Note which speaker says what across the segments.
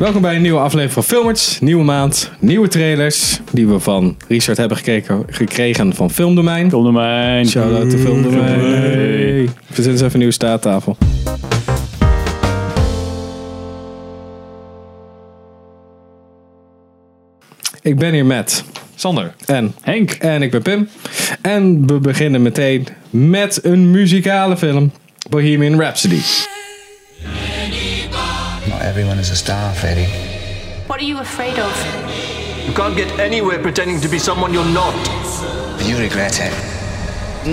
Speaker 1: Welkom bij een nieuwe aflevering van Filmers. Nieuwe maand, nieuwe trailers die we van Richard hebben gekeken, gekregen van Filmdomein.
Speaker 2: Kom naar mij.
Speaker 1: Shout-out to Filmdomein. We zitten eens even een nieuwe staattafel. Ik ben hier met
Speaker 3: Sander.
Speaker 1: en
Speaker 2: Henk.
Speaker 1: en ik ben Pim. En we beginnen meteen met een muzikale film. Bohemian Rhapsody.
Speaker 4: Not everyone is a star, Freddie.
Speaker 5: What are you afraid of?
Speaker 6: You can't get anywhere pretending to be someone you're not.
Speaker 4: But you regret it.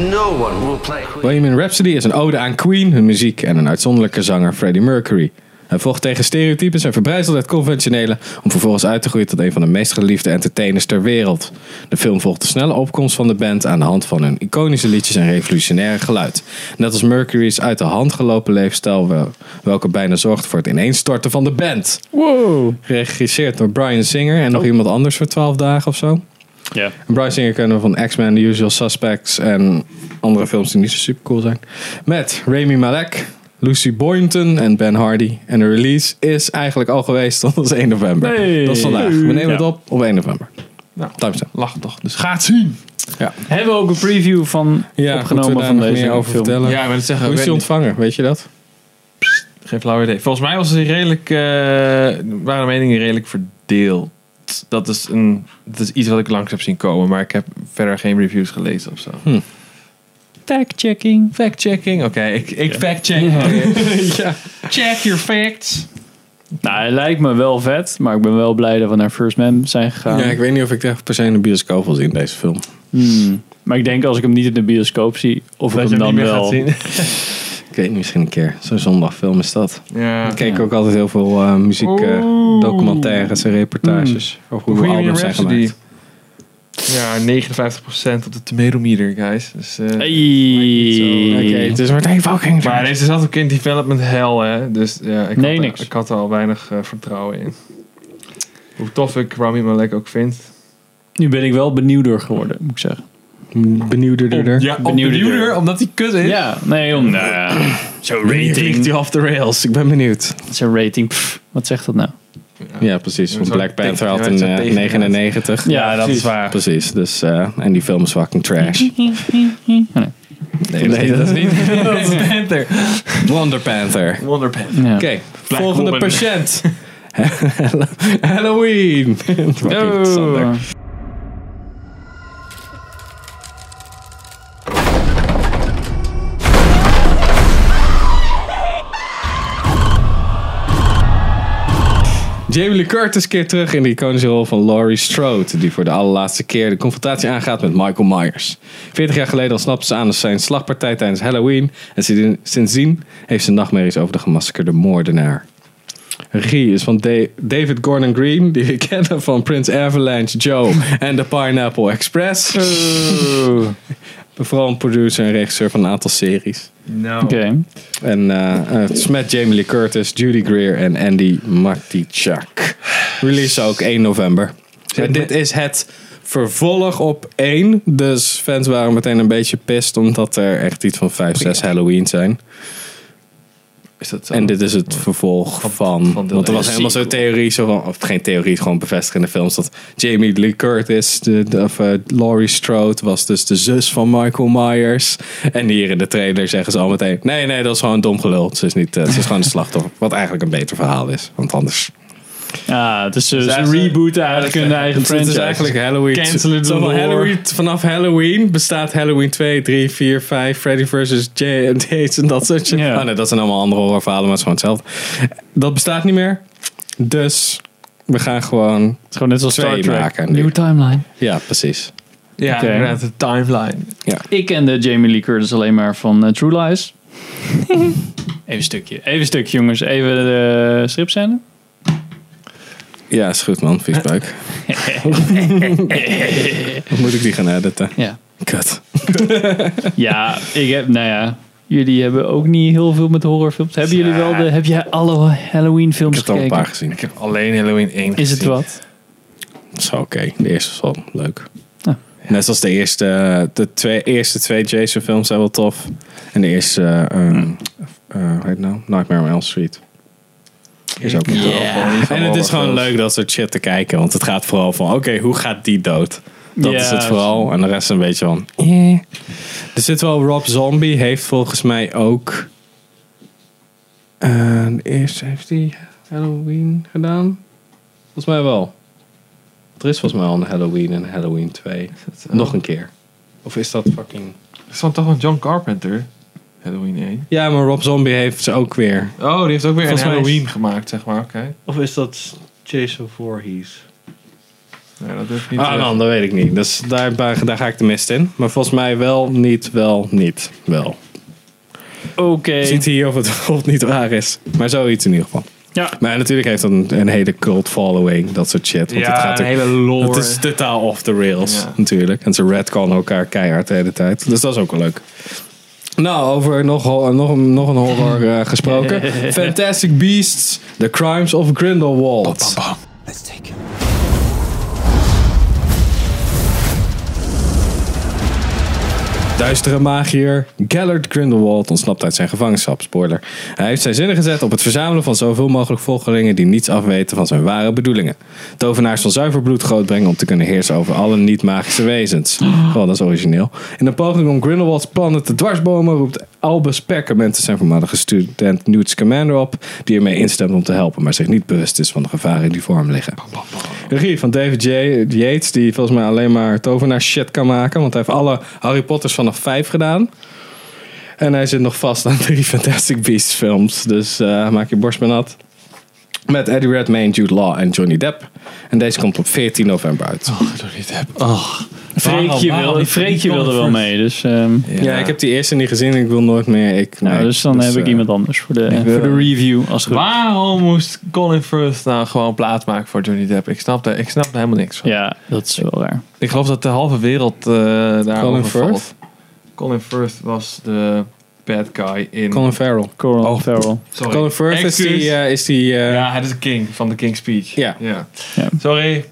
Speaker 6: No one will play.
Speaker 1: Bohemian Rhapsody is een ode aan Queen, hun muziek en een uitzonderlijke zanger Freddie Mercury. Hij vocht tegen stereotypes en verbrijzelde het conventionele om vervolgens uit te groeien tot een van de meest geliefde entertainers ter wereld. De film volgt de snelle opkomst van de band aan de hand van hun iconische liedjes en revolutionaire geluid. Net als Mercury's uit de hand gelopen leefstijl, wel- welke bijna zorgt voor het ineenstorten van de band.
Speaker 2: Wow.
Speaker 1: Geregisseerd door Brian Singer en nog iemand anders voor 12 dagen of zo.
Speaker 2: Ja.
Speaker 1: En Bryce Singer kennen we van X-Men, The Usual Suspects en andere films die niet zo super cool zijn. Met Rami Malek, Lucy Boynton en Ben Hardy. En de release is eigenlijk al geweest, want dat is 1 november.
Speaker 2: Hey.
Speaker 1: Dat is vandaag. We nemen het
Speaker 2: Ja.
Speaker 1: op op 1 november.
Speaker 3: Nou,
Speaker 1: Timestamp.
Speaker 3: Lach toch. Dus ga het zien.
Speaker 2: Hebben we ook een preview van
Speaker 1: moeten we
Speaker 2: opgenomen
Speaker 1: daar
Speaker 2: van
Speaker 1: nog
Speaker 2: deze
Speaker 1: meer over
Speaker 2: film?
Speaker 1: vertellen.
Speaker 3: Ja, ik wil het zeggen.
Speaker 1: Hoe
Speaker 3: ik
Speaker 1: is die
Speaker 3: weet niet.
Speaker 1: ontvangen, weet je dat?
Speaker 3: Geen flauw idee. Volgens mij was het redelijk, eh, waren de meningen redelijk verdeeld. Dat is, een, dat is iets wat ik langs heb zien komen, maar ik heb verder geen reviews gelezen of zo.
Speaker 1: Hm.
Speaker 2: Fact-checking.
Speaker 3: Fact-checking. Oké, ik, ik fact-check.
Speaker 1: ja.
Speaker 3: Check your facts.
Speaker 2: Nou, hij lijkt me wel vet, maar ik ben wel blij dat we naar First Man zijn gegaan.
Speaker 1: ja, ik weet niet of ik echt per se in de bioscoop wil zien deze film.
Speaker 2: Hmm. Maar ik denk als ik hem niet in de bioscoop zie, of ik hem dan wel...
Speaker 1: Ik weet niet, misschien een keer. Zo'n zondagfilm is dat.
Speaker 3: Ja. Oh.
Speaker 1: Ik keek ook altijd heel veel eh, muziek, eh,
Speaker 3: Oeh.
Speaker 1: documentaires en reportages. Over hoe
Speaker 3: Bohemian
Speaker 1: albums zijn
Speaker 3: Rhapsody.
Speaker 1: gemaakt.
Speaker 3: Ja, 59% op de tomato meter, guys. Dus, eh,
Speaker 2: Hey.
Speaker 1: Oké, het is maar één fucking
Speaker 3: Maar dus deze zat ook in development hell, hè? Dus ja, ik,
Speaker 2: Nee,
Speaker 3: had,
Speaker 2: niks.
Speaker 3: ik had er al weinig eh, vertrouwen in. Hoe tof ik Rami Malek ook vind.
Speaker 2: Nu ben ik wel benieuwd door geworden, moet ik zeggen.
Speaker 1: Benieuwderder.
Speaker 3: Ja,
Speaker 2: Benieuwder. benieuwder,
Speaker 3: omdat hij kut is.
Speaker 2: Ja, nee, om, nou ja. Zo'n rating.
Speaker 1: off the rails. Ik ben benieuwd.
Speaker 2: Zo'n rating, pff, wat zegt dat nou?
Speaker 1: Ja, precies. Want
Speaker 3: Zo'n
Speaker 1: Black
Speaker 3: tegen-
Speaker 1: Panther had
Speaker 3: ja,
Speaker 1: een
Speaker 3: zo'n
Speaker 1: eh,
Speaker 3: tegen-
Speaker 1: 99.
Speaker 2: Ja, dat is waar.
Speaker 1: Precies. Dus, eh, en die film is fucking trash. nee, dat is niet.
Speaker 3: Panther.
Speaker 1: Wonder Panther. Oké,
Speaker 3: Wonder Panther.
Speaker 2: Ja.
Speaker 1: volgende
Speaker 3: Woman.
Speaker 1: patiënt. Halloween. Fucking Sander.
Speaker 2: Oh.
Speaker 1: Jamie Lee Curtis keert terug in de iconische rol van Laurie Strode, die voor de allerlaatste keer de confrontatie aangaat met Michael Myers. 40 jaar geleden ontsnapte ze aan zijn slagpartij tijdens Halloween en sindsdien- sindsdien heeft ze nachtmerries over de gemaskerde moordenaar. Regie is van Da- David Gordon Green, die we kennen van Prince Avalanche, Joe en The Pineapple Express. Vooral een producer en regisseur van een aantal series.
Speaker 3: Nou.
Speaker 2: Oké.
Speaker 1: En eh, eh, het is met Jamie Lee Curtis, Judy Greer en Andy Matichak. Release ook 1 november. En dit is het vervolg op 1. Dus fans waren meteen een beetje pist omdat er echt iets van 5, 6 Halloween zijn.
Speaker 3: Is dat zo?
Speaker 1: En dit is het vervolg van...
Speaker 3: eh, van deel
Speaker 1: want er
Speaker 3: één.
Speaker 1: was helemaal zo'n theorie, zo van, of geen theorie, gewoon bevestigd in de films, dat Jamie Lee Curtis, de, de- of eh, Laurie Strode, was dus de zus van Michael Myers. En hier in de trailer zeggen ze al meteen, nee, nee, dat is gewoon dom gelul. Ze is, niet, eh, ze is gewoon een slachtoffer. Wat eigenlijk een beter verhaal is, want anders...
Speaker 2: Ja, het is eh,
Speaker 3: Dus
Speaker 2: een
Speaker 3: eigenlijk-
Speaker 2: reboot eigenlijk hun eigen
Speaker 1: Het
Speaker 2: franchise.
Speaker 1: is dus eigenlijk Halloween.
Speaker 2: Cancelen
Speaker 1: Het is allemaal
Speaker 2: door.
Speaker 1: Halloween. Vanaf Halloween bestaat Halloween 2, 3, 4, 5, Freddy vs. Jay en Jason, dat soort shit.
Speaker 2: Ja.
Speaker 1: Oh nee, dat zijn allemaal andere horrorverhalen, maar het is gewoon hetzelfde. Dat bestaat niet meer. Dus we gaan gewoon...
Speaker 2: Het is gewoon net zoals
Speaker 1: Twee
Speaker 2: Star Trek.
Speaker 1: maken nu.
Speaker 2: Nieuwe timeline.
Speaker 1: Ja, precies.
Speaker 3: Ja,
Speaker 2: Oké.
Speaker 3: inderdaad, de timeline.
Speaker 2: Ik kende Jamie Lee Curtis alleen maar van eh, True Lies. even een stukje. Even een stukje, jongens. Even de uh, stripscène.
Speaker 1: Ja, is goed man, viesbuik. Moet ik die gaan editen?
Speaker 2: Ja.
Speaker 1: Kut.
Speaker 2: Ja, ik heb... Nou ja. Jullie hebben ook niet heel veel met horrorfilms. Hebben jullie wel de... Heb jij alle Halloween
Speaker 1: Ik
Speaker 2: films
Speaker 1: heb er al een
Speaker 2: gekeken?
Speaker 1: paar gezien.
Speaker 3: Ik heb alleen Halloween 1
Speaker 2: Is het
Speaker 3: gezien.
Speaker 2: wat?
Speaker 1: Dat is wel oké. De eerste is wel leuk.
Speaker 2: Ja.
Speaker 1: Net zoals de eerste, eh, de twee, eerste twee Jason films zijn wel tof. En de eerste, eh, ehm, eh, hoe heet het nou? Nightmare on Elm Street. Is ook En het is gewoon leuk dat soort shit te kijken. Want het gaat vooral van, oké, hoe gaat die dood? Dat
Speaker 2: Ja,
Speaker 1: is het vooral. En de rest een beetje van, eh. Er zit wel, Rob Zombie heeft volgens mij ook... eh, eerst heeft hij Halloween gedaan? Volgens mij wel. Er is volgens mij al een Halloween en Halloween 2. Nog een keer. Of is dat fucking...
Speaker 3: Er stond toch een John Carpenter? Halloween 1.
Speaker 1: Ja, maar Rob Zombie heeft ze ook weer.
Speaker 3: Oh, die heeft ook weer
Speaker 1: Volgens
Speaker 3: een
Speaker 1: mij is-
Speaker 3: Halloween gemaakt, zeg maar. Oké.
Speaker 7: Of is dat Jason Voorhees?
Speaker 3: Ja, dat durf ik niet te
Speaker 1: Ah,
Speaker 3: zeggen.
Speaker 1: man, dat weet ik niet. Dus daar, daar, daar ga ik de mist in. Maar volgens mij wel, niet, wel, niet, wel.
Speaker 2: Oké.
Speaker 1: Ziet hier of het of het niet waar is. Maar zoiets in ieder geval.
Speaker 2: Ja.
Speaker 1: Maar natuurlijk heeft dat een, een hele cult following, dat soort shit. Want het gaat
Speaker 3: een
Speaker 1: ook-
Speaker 3: hele lore.
Speaker 1: het is totaal off the rails,
Speaker 3: Ja.
Speaker 1: natuurlijk. En ze redconnen elkaar keihard de hele tijd. Dus dat is ook wel leuk. Nou, over nog, ho- nog, een- nog een horror eh, gesproken. Fantastic Beasts, The Crimes of Grindelwald.
Speaker 4: Let's take him.
Speaker 1: Duistere magier Gellert Grindelwald ontsnapt uit zijn gevangenschap. Spoiler. Hij heeft zijn zinnen gezet op het verzamelen van zoveel mogelijk volgelingen die niets afweten van zijn ware bedoelingen. Tovenaars van zuiver bloed grootbrengen om te kunnen heersen over alle niet-magische wezens. Oh, dat is origineel. In een poging om Grindelwalds plannen te dwarsbomen roept Albus Perkament zijn voormalige student Newt Commander op, die ermee instemt om te helpen, maar zich niet bewust is van de gevaren die voor hem liggen. Regie van David J. Yates, die volgens mij alleen maar tovenaar shit kan maken. Want hij heeft alle Harry Potters vanaf vijf gedaan. En hij zit nog vast aan drie Fantastic Beasts films. Dus eh, maak je borst maar nat. Met Eddie Redmayne, Jude Law en Johnny Depp. En deze komt op 14 november uit.
Speaker 2: Oh. Freekje
Speaker 3: Waarom- waarom
Speaker 2: wilde,
Speaker 3: niet-
Speaker 2: Freekje
Speaker 3: niet
Speaker 2: wilde wel
Speaker 3: Colin
Speaker 2: mee. Dus, ehm,
Speaker 1: ja. ik heb die eerste niet gezien. Ik wil nooit meer. Ik,
Speaker 2: nou,
Speaker 1: nee.
Speaker 2: dus dan heb ik
Speaker 1: eh,
Speaker 2: iemand anders voor de,
Speaker 3: wil-
Speaker 2: voor de review. Als het goed.
Speaker 3: Waarom moest Colin Firth nou gewoon plaats maken voor Johnny Depp? Ik snap daar, ik snap daar helemaal niks van.
Speaker 2: Ja, dat is wel waar.
Speaker 3: Ik geloof dat de halve wereld eh daar
Speaker 1: Colin
Speaker 3: over valt.
Speaker 1: Firth?
Speaker 3: Colin Firth was de bad guy in...
Speaker 1: Colin Farrell.
Speaker 2: Coral
Speaker 3: Oh.
Speaker 2: Farrell.
Speaker 3: Sorry.
Speaker 1: Colin Firth is
Speaker 3: Excuus.
Speaker 1: die... eh, is die eh,
Speaker 3: ja, het is de king van de King's Speech.
Speaker 1: Ja.
Speaker 2: Ja.
Speaker 3: Sorry.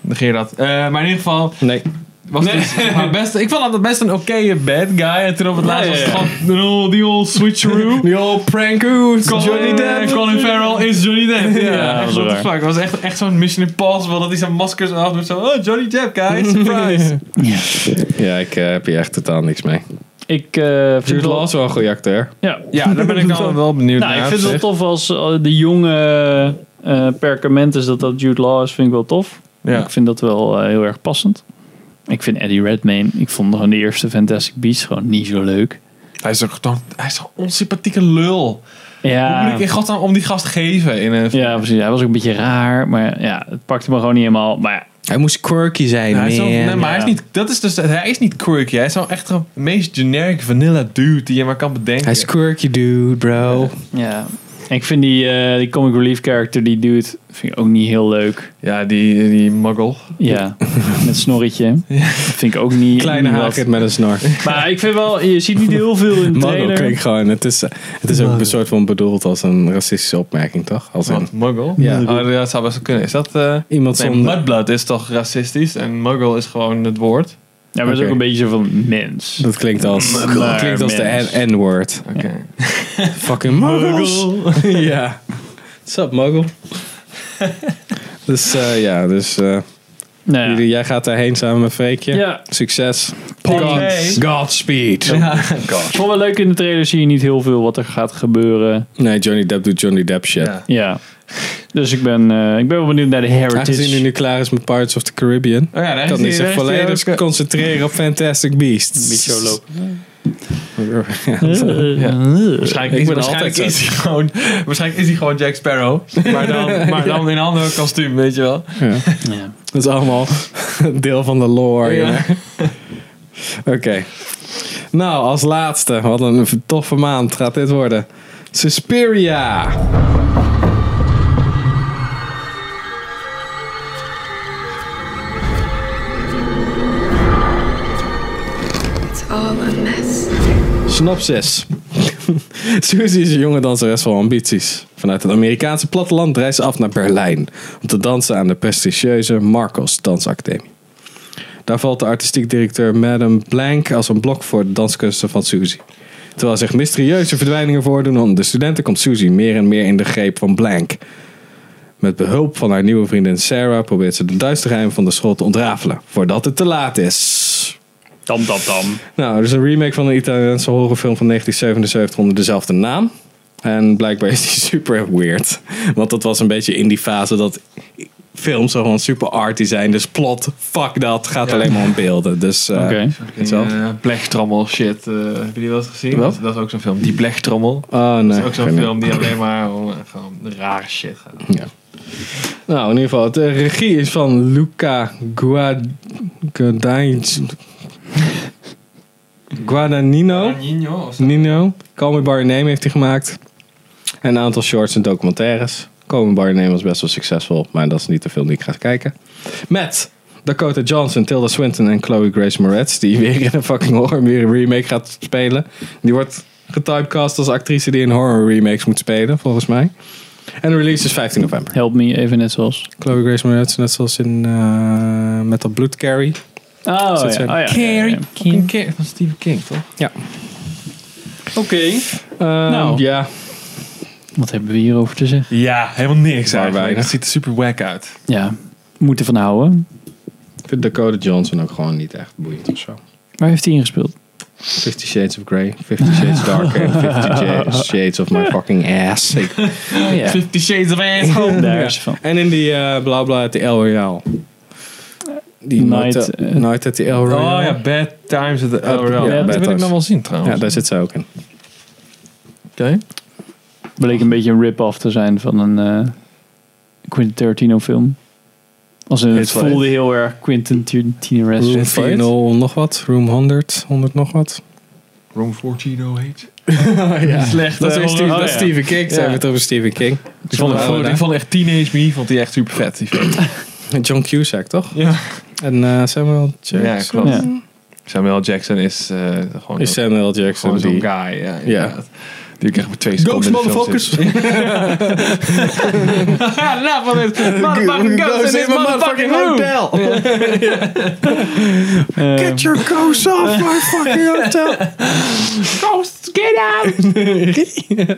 Speaker 3: Negeer dat. Eh, maar in ieder geval...
Speaker 1: Nee.
Speaker 3: Was dus maar best, ik vond dat best een oké bad guy. En toen op het laatst
Speaker 2: Ja,
Speaker 3: was
Speaker 2: ja,
Speaker 3: het
Speaker 2: ja.
Speaker 3: gewoon... oh, Die old switcheroo.
Speaker 1: Die old prankoos.
Speaker 3: Johnny Depp. Colin Farrell is Johnny Depp. Ja,
Speaker 2: Ja,
Speaker 3: echt,
Speaker 2: dat is
Speaker 3: what the
Speaker 2: raar.
Speaker 3: fuck. Het was echt, echt zo'n Mission Impossible dat hij zijn maskers af doet. Zo, oh, Johnny Depp, guys. Surprise.
Speaker 1: Ja, ik eh, heb hier echt totaal niks mee.
Speaker 2: Ik eh vind het
Speaker 1: Jude Law
Speaker 2: wel...
Speaker 1: is wel een goede acteur.
Speaker 2: Ja.
Speaker 3: ja, daar ben ik dan wel benieuwd
Speaker 2: Nou, ik
Speaker 3: naar.
Speaker 2: vind het wel
Speaker 3: op zich.
Speaker 2: tof als eh, de jonge eh perkament is dat dat Jude Law is. Vind ik wel tof.
Speaker 3: Ja.
Speaker 2: Ik vind dat wel eh, heel erg passend. Ik vind Eddie Redmayne, ik vond gewoon de eerste Fantastic Beasts gewoon niet zo leuk.
Speaker 3: Hij is ook dan- hij is zo'n onsympathieke lul. Hoe
Speaker 2: Ja,
Speaker 3: moet ik in godsnaam om die gast geven? In een,
Speaker 2: ja precies. Hij was ook een beetje raar, maar ja, het pakte me gewoon niet helemaal. Maar ja,
Speaker 1: Hij moest quirky zijn,
Speaker 3: hij is zo- nee, maar hij is
Speaker 2: ja.
Speaker 3: niet, dat is dus, hij is niet quirky. Hij is zo'n echt een meest generic vanilla dude die je maar kan bedenken.
Speaker 1: Hij is quirky dude, bro.
Speaker 2: ja. En ik vind die, eh, die comic relief character, die dude, vind ik ook niet heel leuk.
Speaker 3: ja, die, die muggle.
Speaker 2: Ja, met snorretje. Dat vind ik ook niet
Speaker 1: Kleine
Speaker 2: niet wat.
Speaker 1: haakert met een snor.
Speaker 2: Maar ik vind wel, je ziet niet heel veel in de
Speaker 1: Muggle
Speaker 2: trailer.
Speaker 1: klinkt gewoon. Het is, het is ook een soort van bedoeld als een racistische opmerking, toch? Als een,
Speaker 3: Wat, muggle?
Speaker 1: Ja.
Speaker 3: Oh, dat zou best wel kunnen. Is dat... eh
Speaker 1: iemand
Speaker 3: nee,
Speaker 1: zonder...
Speaker 3: mudblood is toch racistisch en muggle is gewoon het woord.
Speaker 2: Ja, maar het is ook
Speaker 1: Oké.
Speaker 2: een beetje zo van mens.
Speaker 1: Dat klinkt als, dat klinkt als de
Speaker 2: mens.
Speaker 1: N- N-word.
Speaker 3: Oké.
Speaker 1: Fucking muggles. ja. What's up, muggle? dus eh, ja, dus eh,
Speaker 2: Nou ja.
Speaker 1: jullie- jij gaat daarheen samen met Freekje.
Speaker 2: Ja.
Speaker 1: Succes.
Speaker 3: Thanks.
Speaker 1: Godspeed.
Speaker 2: Ik vond wel leuk in de trailer zie je niet heel veel wat er gaat gebeuren.
Speaker 1: Nee, Johnny Depp doet Johnny Depp shit.
Speaker 3: Ja.
Speaker 2: Ja. Dus ik ben, eh, ik ben wel benieuwd naar de
Speaker 1: Aangezien hij
Speaker 2: heritage.
Speaker 1: nu klaar is met Pirates of the Caribbean,
Speaker 3: Oh ja, daar
Speaker 1: kan
Speaker 3: is
Speaker 1: hij
Speaker 3: die- daar
Speaker 1: zich
Speaker 3: is die
Speaker 1: volledig
Speaker 3: ook, eh,
Speaker 1: concentreren op Fantastic Beasts.
Speaker 2: Beetje lopen. Eh,
Speaker 3: Waarschijnlijk
Speaker 1: Ik
Speaker 3: is,
Speaker 1: ben
Speaker 3: waarschijnlijk,
Speaker 1: altijd
Speaker 3: is hij gewoon, waarschijnlijk is hij gewoon Jack Sparrow. Maar dan, maar dan in een ander kostuum, weet je wel.
Speaker 2: Ja.
Speaker 1: Dat is allemaal deel van de lore.
Speaker 3: Ja.
Speaker 1: jongen. Oké. Nou, als laatste, wat een toffe maand gaat dit worden. Suspiria.
Speaker 8: It's all a mess.
Speaker 1: Synopsis. Suzy is een jonge danseres vol ambities. Vanuit het Amerikaanse platteland reist ze af naar Berlijn om te dansen aan de prestigieuze Marcos Dansacademie. Daar valt de artistiek directeur Madame Blank als een blok voor de danskunsten van Suzy. Terwijl zich mysterieuze verdwijningen voordoen onder de studenten, komt Suzy meer en meer in de greep van Blank. Met behulp van haar nieuwe vriendin Sarah probeert ze de duistere geheim van de school te ontrafelen, voordat het te laat is.
Speaker 2: Dam, dam, dam.
Speaker 1: Nou, er is een remake van een Italiaanse horrorfilm van 1977 onder dezelfde naam. En blijkbaar is die super weird. Want dat was een beetje in die fase dat films zo gewoon super arty zijn. Dus plot, fuck dat, gaat alleen maar om beelden. Dus eh,
Speaker 2: Oké.
Speaker 1: hetzelfde.
Speaker 3: Eh, blechtrommel shit. eh, heb je die wel eens gezien?
Speaker 1: Wat?
Speaker 3: Dat, dat is ook zo'n film. Die blechtrommel.
Speaker 1: Oh nee.
Speaker 3: Dat is ook zo'n
Speaker 1: geen idee.
Speaker 3: film die alleen maar om, eh, gewoon rare shit gaat.
Speaker 1: Nou, in ieder geval, de regie is van Luca Guad... Guadagnino. Guadagnino.
Speaker 3: Nino of zo?
Speaker 1: Nino. Call Me By Your Name heeft hij gemaakt. En een aantal shorts en documentaires. Call Me By Your Name was best wel succesvol, maar dat is niet de film die ik ga kijken. Met Dakota Johnson, Tilda Swinton en Chloe Grace Moretz, die weer in een fucking horror remake gaat spelen. Die wordt getypecast als actrice die in horror remakes moet spelen, volgens mij. En de release is 15 november.
Speaker 2: Help me, even net zoals.
Speaker 1: Chloe Grace Moretz, net zoals in eh, met dat bloed Carrie.
Speaker 2: Oh, ja.
Speaker 1: Zo
Speaker 2: oh
Speaker 1: te
Speaker 2: ja.
Speaker 1: zeggen.
Speaker 2: ja, ja, ja.
Speaker 3: King. King. Van Stephen King, toch?
Speaker 1: Ja.
Speaker 2: Oké.
Speaker 1: nou.
Speaker 2: Nou.
Speaker 1: Ja.
Speaker 2: Wat hebben we hierover te zeggen?
Speaker 3: Ja, helemaal niks
Speaker 1: eigenlijk.
Speaker 3: eigenlijk.
Speaker 1: Het
Speaker 3: Het ziet er super wack uit.
Speaker 2: Ja, moeten van houden.
Speaker 1: Ik vind Dakota Johnson ook gewoon niet echt boeiend of zo.
Speaker 2: Waar heeft hij ingespeeld?
Speaker 1: Fifty Shades of Grey, Fifty Shades Darker, Fifty Ja- Shades of My Fucking Ass. Ik-
Speaker 2: Oh, ja.
Speaker 3: Fifty Shades of Asshole.
Speaker 2: Oh, Daar is hij van.
Speaker 1: En in die eh, bla bla uit de El Royale. Die
Speaker 2: Night,
Speaker 1: Night,
Speaker 2: eh,
Speaker 1: Night at the El Royale.
Speaker 3: Oh ja, Bad Times at the El
Speaker 1: Ja,
Speaker 3: Royale.
Speaker 1: Bad
Speaker 3: dat wil ik
Speaker 1: Times.
Speaker 3: nog wel zien
Speaker 1: Ja,
Speaker 3: trouwens.
Speaker 1: daar zit ze ook in.
Speaker 3: Oké.
Speaker 2: Bleek een beetje een rip-off te zijn van een eh, Quentin Tarantino film. Als in, het
Speaker 3: Hit Fight.
Speaker 2: voelde heel erg Quentin
Speaker 1: Room
Speaker 2: Tarantino-esque.
Speaker 1: 400 nog wat. Room 100, 100 nog wat.
Speaker 3: Room 1408.
Speaker 1: Slecht. Dat is weer
Speaker 2: eh,
Speaker 1: Steve-
Speaker 2: oh,
Speaker 1: dat is
Speaker 2: ja.
Speaker 1: Stephen King. Zijn we het over Stephen King.
Speaker 3: Ik vond, ik, vond, ik vond echt Teenage Me vond die echt super vet. Die film.
Speaker 1: John Cusack, toch?
Speaker 3: Ja.
Speaker 1: En eh, Samuel Jackson.
Speaker 3: klopt.
Speaker 2: Ja.
Speaker 3: Samuel Jackson is eh, gewoon,
Speaker 1: Is Samuel Jackson
Speaker 3: gewoon zo'n
Speaker 1: die...
Speaker 3: guy. Ja, inderdaad. Die ik echt met twee
Speaker 1: Ghost
Speaker 3: seconden in de film
Speaker 1: motherfuckers.
Speaker 3: zit.
Speaker 2: Ja, van het motherfucking
Speaker 1: Ghost in my motherfucking hotel. Get your ghosts off my fucking hotel.
Speaker 2: Ghost, get out!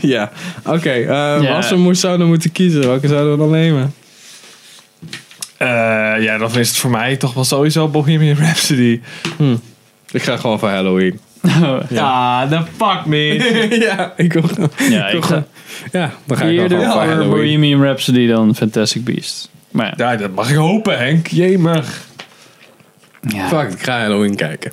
Speaker 1: ja, oké. eh,
Speaker 2: Ja.
Speaker 1: Als we moest, zouden moeten kiezen, welke zouden we dan nemen?
Speaker 3: Eh, ja, dan is het voor mij toch wel sowieso Bohemian Rhapsody.
Speaker 1: Ik ga gewoon voor Halloween.
Speaker 3: Ah, the fuck me.
Speaker 1: ja, ik wil gewoon-
Speaker 2: Ja,
Speaker 1: wil
Speaker 2: ik
Speaker 1: gewoon-
Speaker 2: ga
Speaker 1: Ja, dan ga ik dan
Speaker 2: eerder
Speaker 1: gewoon voor
Speaker 2: voor
Speaker 1: Halloween.
Speaker 2: Bohemian Rhapsody dan Fantastic Beast. Maar ja.
Speaker 3: ja, dat mag ik hopen, Henk. Jemig.
Speaker 2: ja.
Speaker 1: Fuck, ik ga Halloween kijken.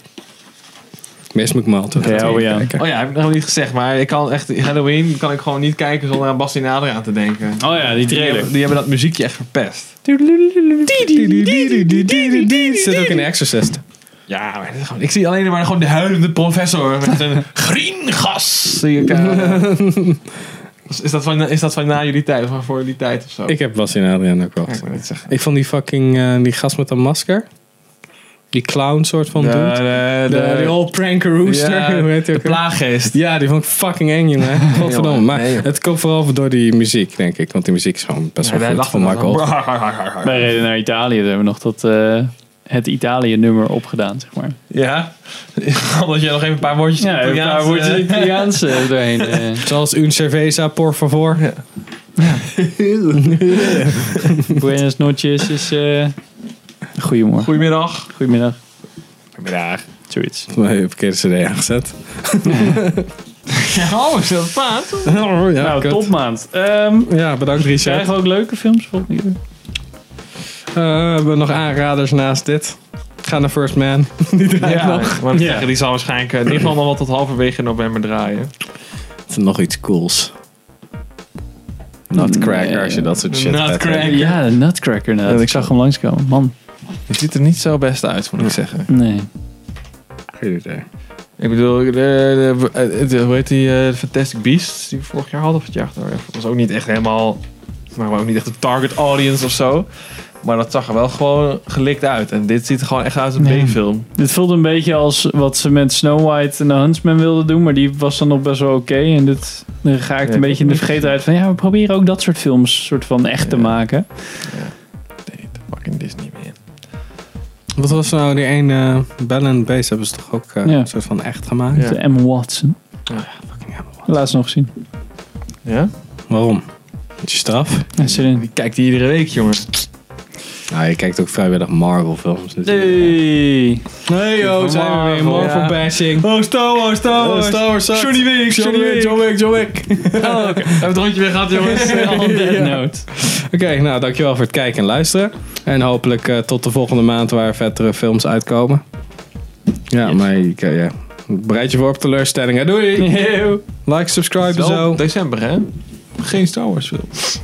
Speaker 1: Miss McMahon.
Speaker 2: Ja, oh ja.
Speaker 3: Oh ja, heb ik nog niet gezegd, maar ik kan echt, Halloween kan ik gewoon niet kijken zonder aan Bastien Nader aan te denken.
Speaker 2: Oh ja, die
Speaker 3: Die
Speaker 2: trailer.
Speaker 3: hebben, die hebben dat muziekje echt verpest.
Speaker 1: Zit ook in The Exorcist.
Speaker 3: Ja, maar dit is gewoon- ik zie alleen maar gewoon de huilende professor met een griengas. Zie ik, eh. is, is dat van, is dat van na jullie tijd of van voor jullie tijd of zo?
Speaker 1: Ik heb Bas en Adriaan ook wel
Speaker 3: Ja, ik
Speaker 1: gezien.
Speaker 3: wil niet zeggen.
Speaker 1: Ik vond die fucking, eh, die gast met dat masker. Die clown soort van dude.
Speaker 3: de,
Speaker 1: De, die old pranker rooster.
Speaker 3: Ja,
Speaker 1: hoe heet die ook
Speaker 3: de
Speaker 1: weer?
Speaker 3: plaaggeest.
Speaker 1: Ja, die vond ik fucking eng, jongen. Godverdomme. Maar het komt vooral door die muziek, denk ik. Want die muziek is gewoon best wel
Speaker 3: Wij
Speaker 1: goed
Speaker 3: lachen
Speaker 1: van
Speaker 3: dan
Speaker 1: Michael.
Speaker 3: zo.
Speaker 1: Oldfield.
Speaker 2: Wij reden naar Italië, daar hebben we nog dat, eh, het Italië-nummer opgedaan, zeg maar.
Speaker 3: Ja, omdat jij nog even een paar woordjes
Speaker 2: Ja,
Speaker 3: hebt.
Speaker 2: daar wordt
Speaker 3: eh,
Speaker 2: het Italiaanse doorheen. eh.
Speaker 1: Zoals Un Cerveza, por favor.
Speaker 2: Buenas noches is... eh, Goedemorgen.
Speaker 3: Goedemiddag.
Speaker 2: Goedemiddag.
Speaker 3: Goedemiddag.
Speaker 2: Zoiets.
Speaker 1: Maar heb ik een CD aangezet.
Speaker 3: Ja, oh, is dat paard?
Speaker 1: Oh, ja,
Speaker 2: nou,
Speaker 1: kut.
Speaker 2: topmaand. Ehm
Speaker 1: Ja, bedankt Richard.
Speaker 2: krijgen we ook leuke films volgende keer?
Speaker 1: Eh, we hebben nog aanraders naast dit. Ga naar First Man. Die draait
Speaker 3: Ja,
Speaker 1: nog.
Speaker 3: maar
Speaker 2: Ja.
Speaker 3: zeggen, die zal waarschijnlijk eh, in ieder geval nog wel tot halverwege november draaien.
Speaker 1: Het is nog iets cools. Nutcracker, als je dat soort shit gaat
Speaker 3: Nutcracker.
Speaker 1: doen.
Speaker 2: Ja, de Nutcracker. Nou, ik zag hem langskomen. Man,
Speaker 3: Het ziet er niet zo best uit, moet ik zeggen.
Speaker 2: nee.
Speaker 1: Geen idee.
Speaker 3: Ik bedoel, de, de, de- de- hoe heet die eh, Fantastic Beasts die we vorig jaar hadden of het jaar daarvoor? was ook niet echt helemaal, maar ook niet echt de target audience of zo. Maar dat zag er wel gewoon gelikt uit. En dit ziet er gewoon echt uit als een
Speaker 2: Ja.
Speaker 3: B-film.
Speaker 2: Dit voelde een beetje als wat ze met Snow White en de Huntsman wilden doen. Maar die was dan nog best wel oké. En dit, dan ga ik
Speaker 3: Ja,
Speaker 2: een
Speaker 3: ik
Speaker 2: beetje in de vergetenheid van... Ja, we proberen ook dat soort films soort van echt te
Speaker 3: Ja.
Speaker 2: maken.
Speaker 3: Nee, de fucking Disney man.
Speaker 1: Wat was nou die ene eh Bell and Base hebben ze toch ook eh,
Speaker 2: Ja.
Speaker 1: een soort van echt gemaakt?
Speaker 3: Ja.
Speaker 2: De M. Watson.
Speaker 1: Fucking hell.
Speaker 2: Laatst nog zien.
Speaker 3: Ja?
Speaker 1: Waarom? Dat je straf?
Speaker 2: En zit in.
Speaker 3: Die kijkt die iedere week, jongen.
Speaker 1: Nou, je kijkt ook vrijwillig Marvel films. Dus
Speaker 2: Hey.
Speaker 1: Hey yo, zijn we weer. Marvel
Speaker 3: Ja.
Speaker 1: bashing.
Speaker 3: Oh, Star Wars, Star
Speaker 1: Wars. Johnny
Speaker 3: Wick,
Speaker 1: John Wick, John Wick, John Wick.
Speaker 3: We hebben het rondje weer gehad, jongens.
Speaker 2: On that note.
Speaker 1: Oké, nou dankjewel voor het kijken en luisteren. En hopelijk eh, tot de volgende maand waar vettere films uitkomen. Ja, maar ik, eh, ja. bereid je voor op teleurstellingen. Doei! Like, subscribe en zo.
Speaker 3: december, hè? Geen Star Wars film.